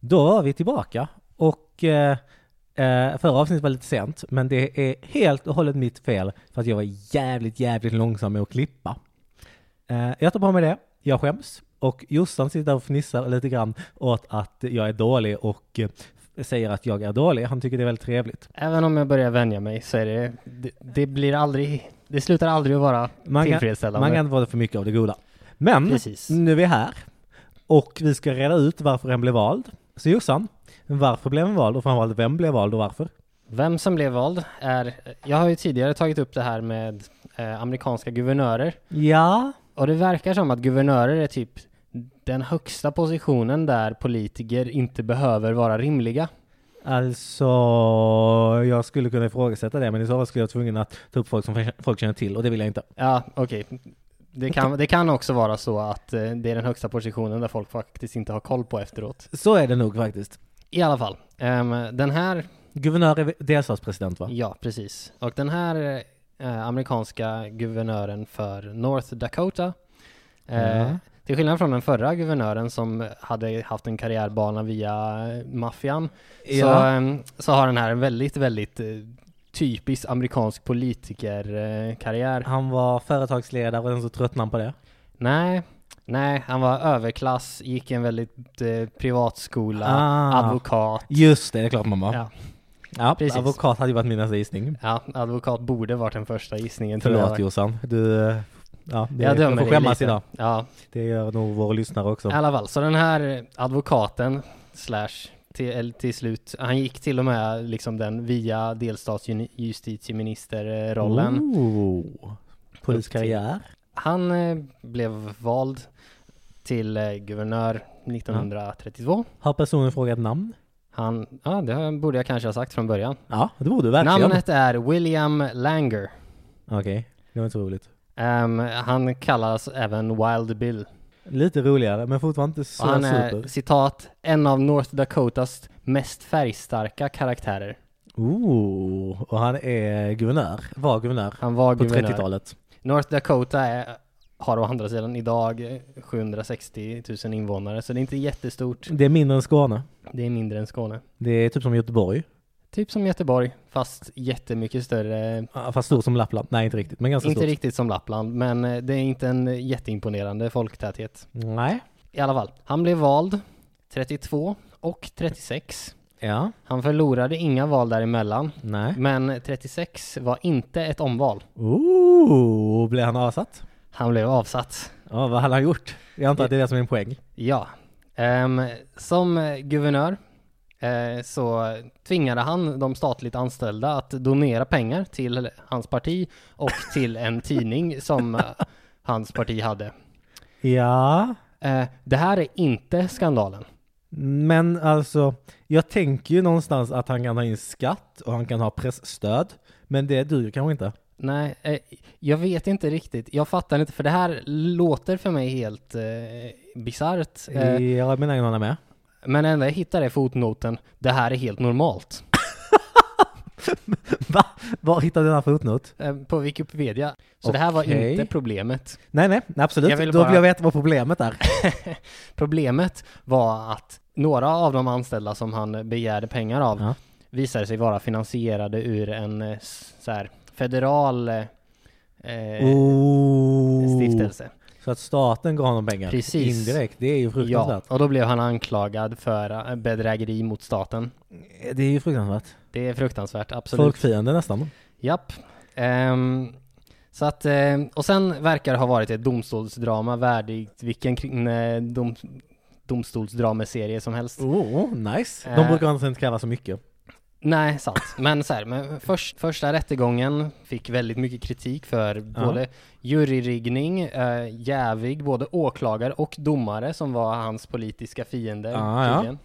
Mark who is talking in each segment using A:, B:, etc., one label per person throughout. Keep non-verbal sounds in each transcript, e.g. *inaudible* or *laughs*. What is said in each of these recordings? A: Då var vi tillbaka och eh, eh, förra avsnittet var lite sent, men det är helt och hållet mitt fel för att jag var jävligt, jävligt långsam med att klippa. Eh, jag tar på mig det, jag skäms och Jossan sitter där och fnissar lite grann åt att jag är dålig och eh, säger att jag är dålig. Han tycker det är väldigt trevligt.
B: Även om jag börjar vänja mig så är det, det, det blir aldrig, det slutar aldrig att vara
A: Man kan,
B: tillfredsställande.
A: man kan inte vara för mycket av det goda. Men
B: Precis.
A: nu är vi här och vi ska reda ut varför han blev vald. Så Jossan, varför blev han vald och framförallt vem blev vald och varför?
B: Vem som blev vald är, jag har ju tidigare tagit upp det här med eh, amerikanska guvernörer
A: Ja,
B: och det verkar som att guvernörer är typ den högsta positionen där politiker inte behöver vara rimliga.
A: Alltså, jag skulle kunna ifrågasätta det, men i så fall skulle jag vara tvungen att ta upp folk som folk känner till, och det vill jag inte.
B: Ja, okej. Det, kan, det kan också vara så att eh, det är den högsta positionen där folk faktiskt inte har koll på efteråt.
A: Så är det nog faktiskt.
B: I alla fall, ehm, den här
A: Guvernör är delstatspresident, va?
B: Ja, precis. Och den här eh, amerikanska guvernören för North Dakota, eh,
A: Ja.
B: till skillnad från den förra guvernören som hade haft en karriärbana via eh, maffian, så, eh, så har den här en väldigt, väldigt eh, typisk amerikansk politikerkarriär. Eh, karriär.
A: Han var företagsledare och sen så tröttnade han på det.
B: Nej, nej, han var överklass, gick i en väldigt eh, privatskola,
A: Ah.
B: advokat.
A: Just det, det är klart man var.
B: Ja.
A: Ja,
B: Precis.
A: advokat hade ju varit min nästa gissning.
B: Ja, advokat borde varit den första gissningen. tror
A: Förlåt
B: jag.
A: Jossan, du... eh, Ja, det,
B: Jag
A: du
B: dömer
A: får
B: dig
A: skämmas
B: lite.
A: idag.
B: Ja,
A: Det gör nog våra lyssnare också.
B: I alla fall, så den här advokaten slash till, eller till slut, han gick till och med liksom den via delstatsjustitieministerrollen.
A: Oh, poliskarriär.
B: Han eh, blev vald till eh, guvernör 1932.
A: Har personen frågat namn?
B: Han, ja det borde jag kanske ha sagt från början.
A: Ja, det borde du verkligen.
B: Namnet är William Langer.
A: Okej, det var inte så roligt.
B: Ehm, han kallas även Wild Bill.
A: Lite roligare, men fortfarande inte så
B: Och han
A: super.
B: är, citat, en av North Dakotas mest färgstarka karaktärer.
A: Ooh, och han är guvernör, var guvernör
B: Han var
A: på
B: guvernör.
A: 30-talet.
B: North Dakota är, har å andra sidan idag 760 000 invånare, så det är inte jättestort.
A: Det är mindre än Skåne.
B: Det är mindre än Skåne.
A: Det är typ som Göteborg,
B: Typ som Göteborg, fast jättemycket större.
A: Ja, fast stort som Lappland. Nej, inte riktigt, men ganska
B: Inte
A: stort.
B: riktigt som Lappland, men eh, det är inte en jätteimponerande folktäthet.
A: Nej.
B: I alla fall, han blev vald 32 och 36.
A: Ja.
B: Han förlorade inga val däremellan,
A: Nej.
B: men 36 var inte ett omval.
A: Ooh, blev han avsatt?
B: Han blev avsatt.
A: Ja, vad hade han gjort? Jag antar att det är det som är en poäng.
B: Ja. Ehm, som eh, guvernör eh, så tvingade han de statligt anställda att donera pengar till hans parti och till en tidning som *laughs* eh, hans parti hade.
A: Ja,
B: Eh, det här är inte skandalen.
A: men alltså, jag tänker ju någonstans att han kan ha in skatt och han kan ha pressstöd, men det duger kanske inte.
B: Nej, eh, jag vet inte riktigt. Jag fattar inte, för det här låter för mig helt eh, bisarrt. Eh,
A: Jag är benägen att hålla med.
B: men det enda jag hittar är fotnoten, det här är helt normalt.
A: Va? Var hittade du den här fotnot?
B: Eh, på Wikipedia. Så det här var
A: Okej.
B: inte problemet.
A: Nej, nej, nej, absolut.
B: Jag vill
A: Då
B: bara-
A: vill jag veta vad problemet är.
B: Problemet var att några av de anställda som han begärde pengar av
A: Ja.
B: visade sig vara finansierade ur en eh, s- så här, federal eh, eh,
A: Oh.
B: stiftelse.
A: Så att staten gav honom pengar
B: Precis.
A: indirekt, det är ju
B: Ja,
A: fruktansvärt.
B: och då blev han anklagad för eh, bedrägeri mot staten.
A: Det är ju fruktansvärt.
B: Det är fruktansvärt, absolut.
A: Folkfiende nästan.
B: Japp. Ehm, så att, eh, och sen verkar det ha varit ett domstolsdrama värdigt vilken kring- eh, dom, domstolsdramaserie som helst.
A: Oh, nice.
B: Eh.
A: De brukar annars inte kräva så mycket.
B: Nej, sant. Men så här, men först, första rättegången fick väldigt mycket kritik för
A: Ja.
B: både juryriggning, eh, jävig, både åklagare och domare som var hans politiska fiender.
A: Ah, Ja, ja.
B: tydligen.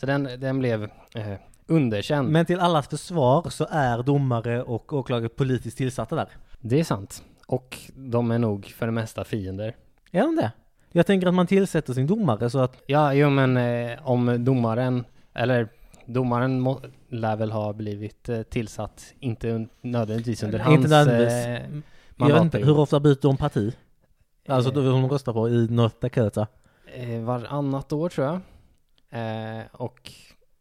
B: Så den, den blev eh, underkänd.
A: Men till allas försvar så är domare och åklagare politiskt tillsatta där.
B: Det är sant. Och de är nog för det mesta fiender.
A: Är de det? Jag tänker att man tillsätter sin domare så att...
B: Ja, jo men eh, om domaren, eller domaren må, lär väl ha blivit eh, tillsatt, inte un, nödvändigtvis under hans...
A: Inte nödvändigtvis.
B: eh,
A: Jag vet inte,
B: mandatperiod.
A: hur ofta byter de parti? Alltså
B: Eh.
A: då de röstar på i North Dakota?
B: eh, varannat år tror jag. Eh, och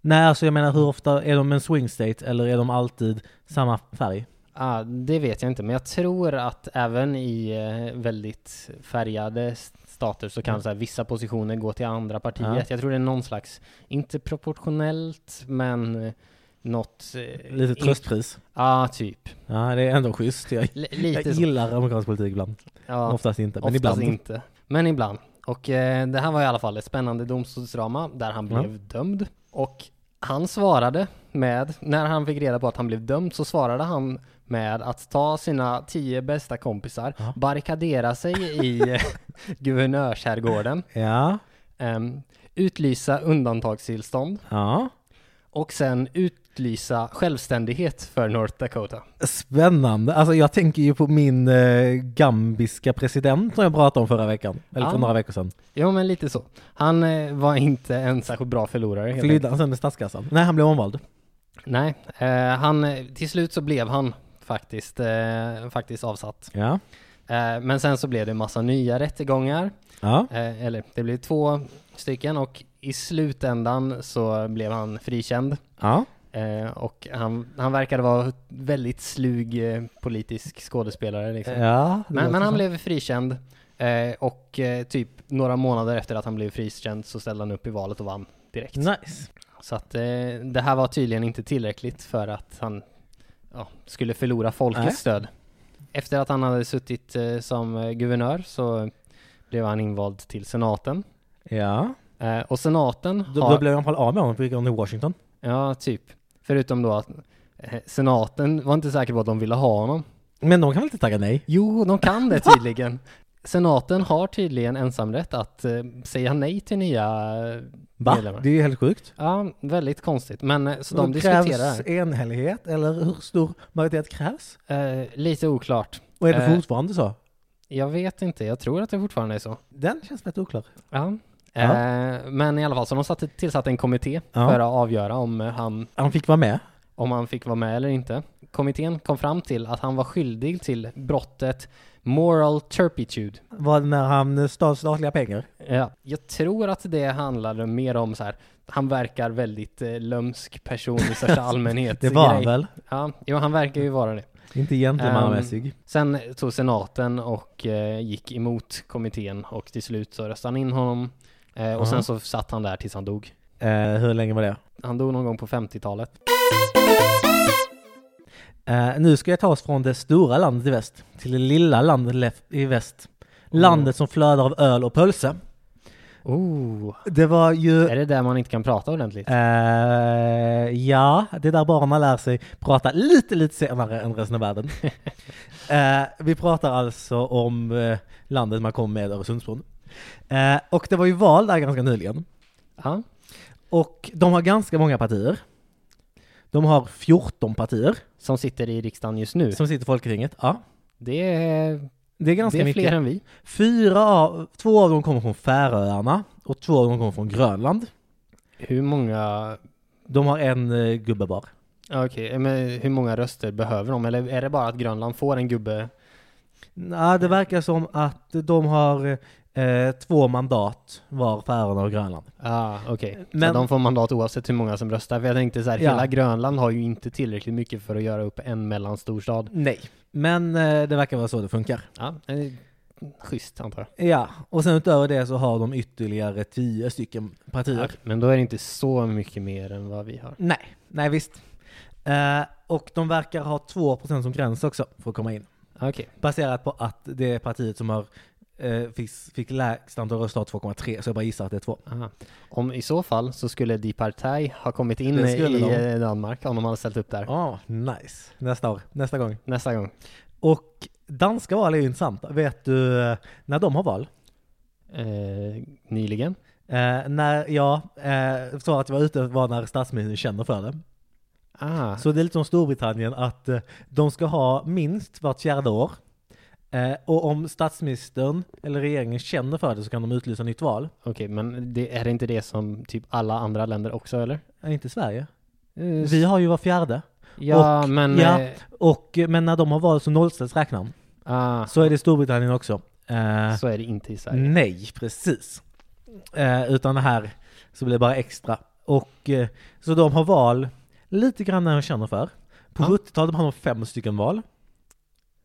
A: Nej, alltså jag menar hur ofta är de en swing state eller är de alltid samma färg?
B: ah, det vet jag inte, men jag tror att även i eh, väldigt färgade s- stater så kan
A: Mm.
B: så här, vissa positioner gå till andra partiet.
A: Ja.
B: Jag tror det är någon slags, inte proportionellt, men eh, något... eh,
A: Lite
B: in-
A: tröstpris.
B: Ja, typ.
A: Ja, det är ändå schysst. Jag,
B: L-
A: jag
B: lite så.
A: gillar amerikansk politik ibland.
B: Ja.
A: Oftast inte, men
B: Oftast
A: ibland.
B: inte. Men ibland. Och eh, det här var i alla fall ett spännande domstolsdrama där han
A: Ja.
B: blev dömd. Och han svarade med, när han fick reda på att han blev dömd så svarade han med att ta sina tio bästa kompisar,
A: Ja.
B: barrikadera sig
A: *laughs*
B: i guvernörskärgården,
A: Ja,
B: ehm, utlysa undantagstillstånd
A: ja.
B: och sen utlysa självständighet för North Dakota.
A: Spännande. Alltså jag tänker ju på min eh, gambiska president som jag pratade om förra veckan. Eller för
B: Ah.
A: några veckor sedan.
B: Jo men lite så. Han eh, var inte en särskilt bra förlorare. helt
A: Flydde han sen med statskassan? Nej, han blev omvald.
B: Nej, eh, han, till slut så blev han faktiskt, eh, faktiskt avsatt.
A: Ja.
B: Eh, men sen så blev det en massa nya rättegångar,
A: Ja.
B: eh, eller det blev två stycken och i slutändan så blev han frikänd.
A: Ja.
B: Eh, och han, han verkade vara väldigt slug eh, politisk skådespelare liksom.
A: ja Eh, det
B: Men,
A: låter
B: men han
A: så.
B: blev frikänd eh, och eh, typ några månader efter att han blev frikänd så ställde han upp i valet och vann direkt.
A: Nice.
B: Så att eh, det här var tydligen inte tillräckligt för att han ja, skulle förlora folkets
A: Nej.
B: stöd. Efter att han hade suttit eh, som eh, guvernör så blev han invald till senaten.
A: Ja.
B: Eh, och senaten
A: Då,
B: har...
A: då blev han i alla fall av med honom, fick honom i Washington.
B: Ja, typ. Förutom då att eh, senaten var inte säker på att de ville ha honom.
A: Men de kan väl inte tacka nej?
B: Jo, de
A: *laughs*
B: kan det tydligen. senaten har tydligen ensamrätt att eh, säga nej till nya...
A: Va?
B: Medlemmar.
A: Det är ju helt sjukt.
B: Ja, väldigt konstigt. Men eh, så de
A: Då
B: diskuterar.
A: Krävs enhällighet eller hur stor majoritet krävs?
B: Eh, lite oklart.
A: Och är det
B: Eh.
A: fortfarande så?
B: Jag vet inte, jag tror att det fortfarande är så.
A: Den känns rätt oklar.
B: Ja.
A: Ja.
B: Eh, men i alla fall, så de satte, tillsatte en kommitté
A: Ja.
B: för att avgöra om eh, han,
A: Han fick vara med.
B: om han fick vara med eller inte. Kommittén kom fram till att han var skyldig till brottet moral turpitude.
A: Var det när han eh, stal statliga pengar?
B: Ja. Jag tror att det handlade mer om så här, han verkar väldigt eh, lömsk person
A: *laughs*
B: i största allmänhet.
A: Det var han
B: grej.
A: väl?
B: Ja, jo, han verkar ju vara det.
A: Inte gentlemannamässig.
B: Sen tog senaten och eh, gick emot kommittén och till slut så röstade han in honom. Eh, och
A: Aha.
B: sen så satt han där tills han dog.
A: Eh, hur länge var det?
B: Han dog någon gång på 50-talet.
A: Eh, nu ska jag ta oss från det stora landet i väst till det lilla landet lef- i väst. Landet som flödar av öl och pölse.
B: Oh,
A: Det var ju...
B: är det där man inte kan prata ordentligt?
A: Eh, ja, det är där barnen lär sig prata lite, lite senare än resten av *laughs* världen. Eh, vi pratar alltså om eh, landet man kom med Öresundsbron. Eh, och det var ju val där ganska nyligen.
B: Ja,
A: Och de har ganska många partier. De har 14 partier
B: som sitter i riksdagen just nu.
A: som sitter i Folktinget. Ja,
B: Det är,
A: det är
B: det
A: ganska
B: är
A: mycket.
B: fler än vi.
A: Fyra av, två av dem kommer från Färöarna och två av dem kommer från Grönland.
B: Hur många,
A: De har en eh, gubbe var.
B: ja, okej, eh, men hur många röster behöver de? Eller är det bara att Grönland får en gubbe?
A: Nej, det verkar som att de har eh, två mandat var, Färöarna och Grönland.
B: Ah, okej. Så
A: Men-
B: de får mandat oavsett hur många som röstar. För jag tänkte så här,
A: Ja.
B: hela Grönland har ju inte tillräckligt mycket för att göra upp en mellanstor stad.
A: Nej. Men eh, det verkar vara så det funkar.
B: Ja, eh, schysst antar jag.
A: Ja, och sen utöver det så har de ytterligare tio stycken partier.
B: Ja, Men då är det inte så mycket mer än vad vi har.
A: Nej, nej visst. Eh, och de verkar ha 2% som gräns också för att komma in.
B: Okej.
A: Baserat på att det partiet som har eh, fick, fick lägst antal röster har 2,3 så jag bara gissar att det är två.
B: Aha. Om i så fall så skulle Die Partei ha kommit in
A: Det
B: i
A: skulle de.
B: eh, Danmark om de hade ställt upp där.
A: Ja, nice. Nästa år, nästa gång.
B: Nästa gång.
A: Och danska val är ju intressanta. Vet du eh, när de har val?
B: Eh, nyligen.
A: Eh, när jag eh, sa att jag var ute var när statsministern känner för det.
B: Ah,
A: Så det är lite som Storbritannien att eh, de ska ha minst vart fjärde år. Eh, och om statsministern eller regeringen känner för det så kan de utlysa nytt val.
B: okej, men det, är det inte det som typ alla andra länder också eller?
A: Eh, inte Sverige.
B: Eh,
A: Vi har ju var fjärde.
B: Ja, men...
A: ja.
B: eh,
A: Och, eh, men när de har valt så nollställs räknaren.
B: ah,
A: Så är det i Storbritannien också. Eh,
B: så är det inte i Sverige.
A: nej, precis. Eh, utan här så blir det bara extra. Och, eh, så de har val lite grann när de känner för. På
B: Ja.
A: 70-talet hade de fem stycken val.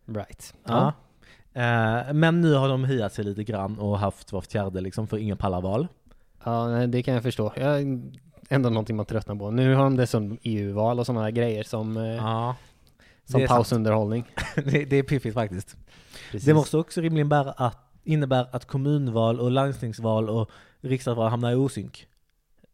B: Right.
A: Ja. Eh, men nu har de hiat sig lite grann och haft vart fjärde liksom, för ingen pallar val.
B: Ja, nej, det kan jag förstå. Jag, ändå någonting man tröttnar på. Nu har de dessutom EU-val och sådana här grejer som, eh,
A: Ja, det
B: som
A: är sant.
B: pausunderhållning.
A: *laughs* det, det är piffigt faktiskt.
B: Precis.
A: Det måste också rimligen bära att, innebära att kommunval och landstingsval och riksdagsval hamnar i osynk.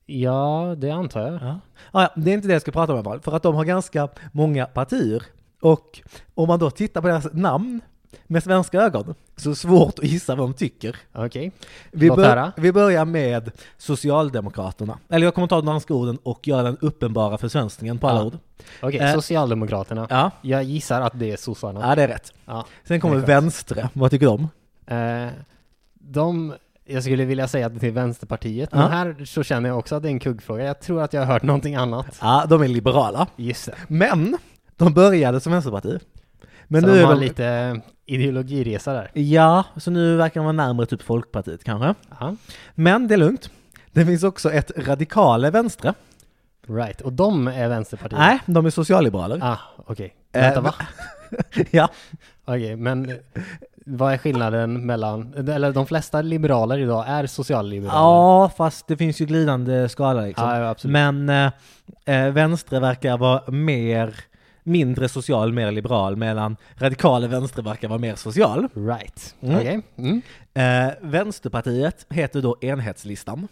B: Ja, det antar jag.
A: Ja. Ah, ja, det är inte det jag ska prata om i alla fall, för att de har ganska många partier. Och om man då tittar på deras namn med svenska ögon så är det svårt att gissa vad de tycker.
B: Okej.
A: Vi,
B: Låt
A: bör,
B: höra.
A: vi börjar med Socialdemokraterna. Eller jag kommer ta de danska orden och göra den uppenbara försvenskningen på alla
B: Ja.
A: ord.
B: Okej,
A: Eh.
B: Socialdemokraterna.
A: Ja.
B: Jag gissar att det är sossarna.
A: ja, det är rätt.
B: Ja.
A: Sen kommer
B: Det är skönt.
A: vänstre. Vad tycker de?
B: Eh, de, jag skulle vilja säga att det är Vänsterpartiet,
A: Ja.
B: men här så känner jag också att det är en kuggfråga. Jag tror att jag har hört någonting annat.
A: Ja, de är liberala.
B: Just det.
A: Men de började som vänsterparti. Men
B: så
A: nu
B: de
A: är
B: har
A: de...
B: lite ideologiresa där.
A: Ja, så nu verkar de vara närmare typ Folkpartiet kanske.
B: Ja.
A: Men det är lugnt. Det finns också ett radikale vänstre.
B: Right, och de är Vänsterpartiet?
A: Nej, de är socialliberaler.
B: Ah, okej.
A: Eh,
B: Vänta, va?
A: Ja,
B: Okej, men eh, vad är skillnaden mellan, eller de flesta liberaler idag är socialliberaler?
A: ja fast det finns ju glidande skala liksom.
B: Ja, ja, absolut.
A: Men eh, eh, vänstre verkar vara mer, mindre social, mer liberal, medan radikale vänstre verkar vara mer social.
B: Right.
A: Mm.
B: Okej. Mm.
A: Eh, vänsterpartiet heter då enhetslistan.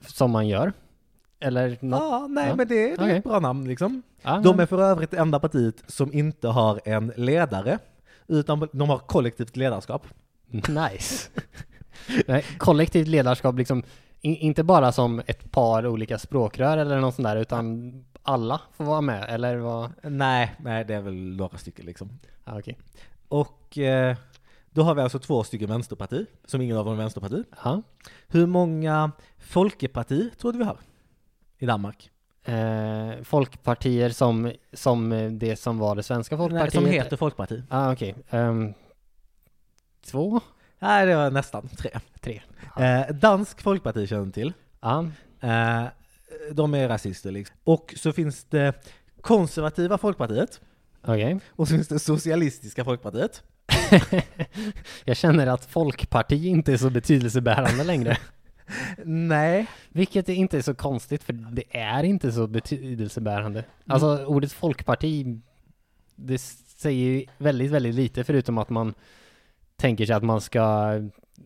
B: Som man gör. Eller något.
A: Ja, nej
B: Ja.
A: men det, det är
B: Okej.
A: ett bra namn liksom.
B: Ah,
A: De är för övrigt det enda partiet som inte har en ledare, utan de har kollektivt ledarskap.
B: *laughs* Nice. Nej, kollektivt ledarskap, liksom, i- inte bara som ett par olika språkrör eller något sånt där, utan alla får vara med, eller vad?
A: Nej, nej det är väl några stycken liksom.
B: Ah, okej.
A: Och eh, då har vi alltså två stycken vänsterparti, som ingen av dem är vänsterparti.
B: Ja.
A: Hur många folkeparti tror du vi har i Danmark?
B: Eh, folkpartier som, som eh, det som var det svenska
A: Nej,
B: folkpartiet?
A: som heter folkparti.
B: Ah, okej. Ehm, två?
A: Nej, det var nästan tre.
B: Tre.
A: Eh, dansk folkparti känner ni till.
B: Ja.
A: Eh, de är rasister liksom. Och så finns det konservativa folkpartiet
B: Okej.
A: och så finns det socialistiska folkpartiet.
B: Jag känner att folkparti inte är så betydelsebärande längre.
A: Nej,
B: Vilket är inte är så konstigt, för det är inte så betydelsebärande. Alltså
A: Mm.
B: ordet folkparti, det säger ju väldigt, väldigt lite förutom att man tänker sig att man ska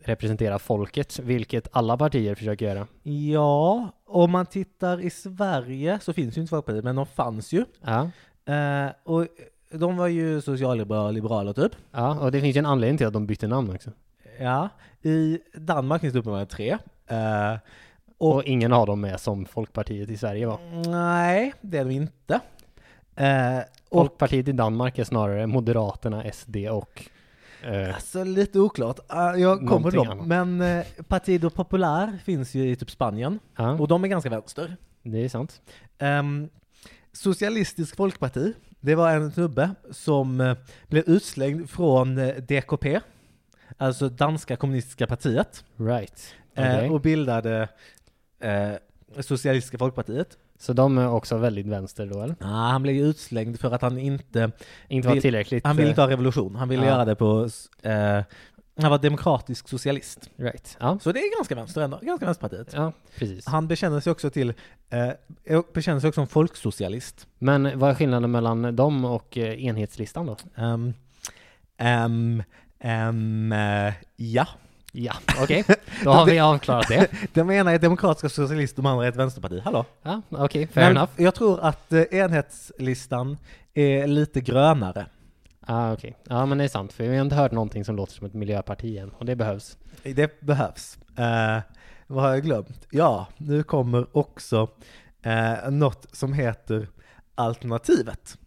B: representera folket, vilket alla partier försöker göra.
A: ja, om man tittar i Sverige så finns ju inte folkpartiet, men de fanns ju.
B: Ja.
A: Eh, och de var ju socialliberaler liberaler, typ.
B: ja, och det finns ju en anledning till att de bytte namn också.
A: Ja. I Danmark finns det uppenbarligen tre. Eh,
B: Och,
A: Och-
B: ingen av dem är som Folkpartiet i Sverige var.
A: nej, det är de inte. Eh, och
B: Folkpartiet i Danmark är snarare Moderaterna, SD och... Eh,
A: alltså, lite oklart. Eh, jag kommer till
B: Någonting
A: dem. Men eh, Partido Popular finns ju i typ Spanien
B: ja,
A: och de är ganska vänster.
B: det är sant.
A: Ehm, Socialistisk folkparti, det var en snubbe som eh, blev utslängd från eh, DKP, alltså Danska kommunistiska partiet.
B: Right.
A: Eh,
B: Okej.
A: och bildade eh, Socialistiska Folkpartiet.
B: Så de är också väldigt vänster då, eller?
A: Ah, han blev ju utslängd för att han inte,
B: Inte var
A: Vill-
B: tillräckligt...
A: han ville
B: eh,
A: inte ha revolution, han ville
B: Ja.
A: göra det på, eh, han var demokratisk socialist.
B: eh, Right. Ja.
A: Så det är ganska vänster ändå, ganska vänsterpartiet.
B: ja, precis.
A: Han bekänner sig också till, eh, bekänner sig också som folksocialist.
B: Men vad är skillnaden mellan dem och eh, enhetslistan då?
A: Ehm, ehm, ehm, eh, ja.
B: Ja, okej.
A: *laughs*
B: Då har vi avklarat det.
A: Den ena är demokratiska socialist, de andra är ett vänsterparti. Hallå?
B: Ja, okej. fair
A: Men
B: enough.
A: jag tror att eh, enhetslistan är lite grönare.
B: Ah, okej. Ja, men det är sant. För vi har inte hört någonting som låter som ett miljöparti än. Och det behövs.
A: Det behövs. Eh, vad har jag glömt? Ja, nu kommer också eh, något som heter alternativet.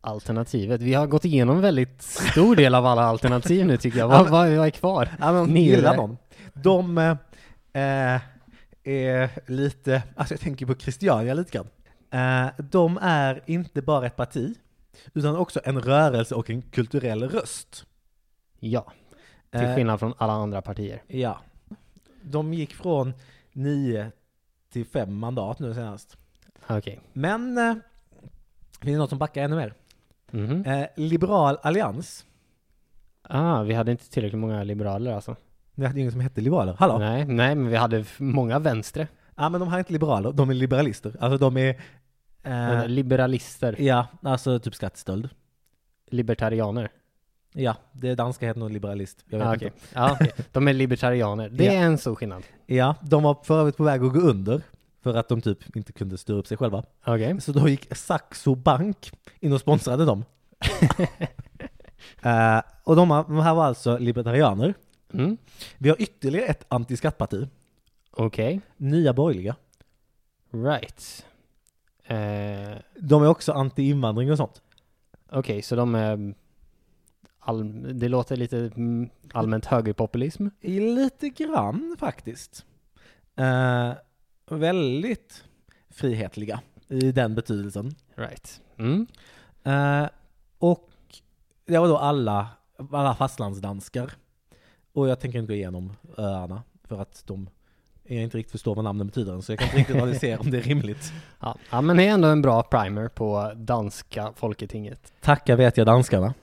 B: Alternativet. Vi har gått igenom väldigt stor del av alla alternativ nu tycker jag. Vad, vad, vad är kvar?
A: Ja, men
B: Ni
A: gillar
B: eller?
A: dem. De eh, eh, är lite, alltså jag tänker på Christiania lite grann. Eh, de är inte bara ett parti, utan också en rörelse och en kulturell röst.
B: Ja, till
A: Eh,
B: skillnad från alla andra partier.
A: Ja. De gick från nio till fem mandat nu senast.
B: Okej.
A: Men eh, finns det något som backar ännu mer?
B: Mhm.
A: Eh, liberal allians.
B: Ah, vi hade inte tillräckligt många liberaler alltså.
A: Vi hade ju ingen som hette liberaler. Hallå?
B: Nej, nej, men vi hade f- många vänstre.
A: Ja, men de här är inte liberaler. De är liberalister. Alltså de är...
B: Eller
A: Eh,
B: Liberalister,
A: ja, alltså typ skattestöld.
B: libertarianer.
A: Ja, det danska heter nog liberalist. Jag vet
B: Ah,
A: inte.
B: okej. Ja, okej. *laughs* De är libertarianer. Det
A: Ja.
B: är en stor skillnad.
A: Ja, de var för övrigt på väg att gå under för att de typ inte kunde styra upp sig själva.
B: Okej.
A: Så då gick Saxo Bank in och sponsrade
B: *laughs*
A: dem. Eh, och de, här- de här var alltså libertarianer.
B: Mm.
A: Vi har ytterligare ett antiskattparti,
B: Okej.
A: Nya Borgerliga.
B: Right. Eh,
A: De är också anti-invandring och sånt.
B: Okej, så de är... All, det låter lite mm, allmänt högerpopulism.
A: Lite grann faktiskt. Eh, väldigt frihetliga i den betydelsen.
B: Right. Mm.
A: Eh, och det var då alla, alla fastlandsdanskar. Och jag tänker inte gå igenom öarna för att de jag inte riktigt förstår vad namnen betyder än, så jag kan inte riktigt analysera om det är rimligt.
B: Ja. ja, men det är ändå en bra primer på danska folketinget.
A: Tacka vet jag danskarna.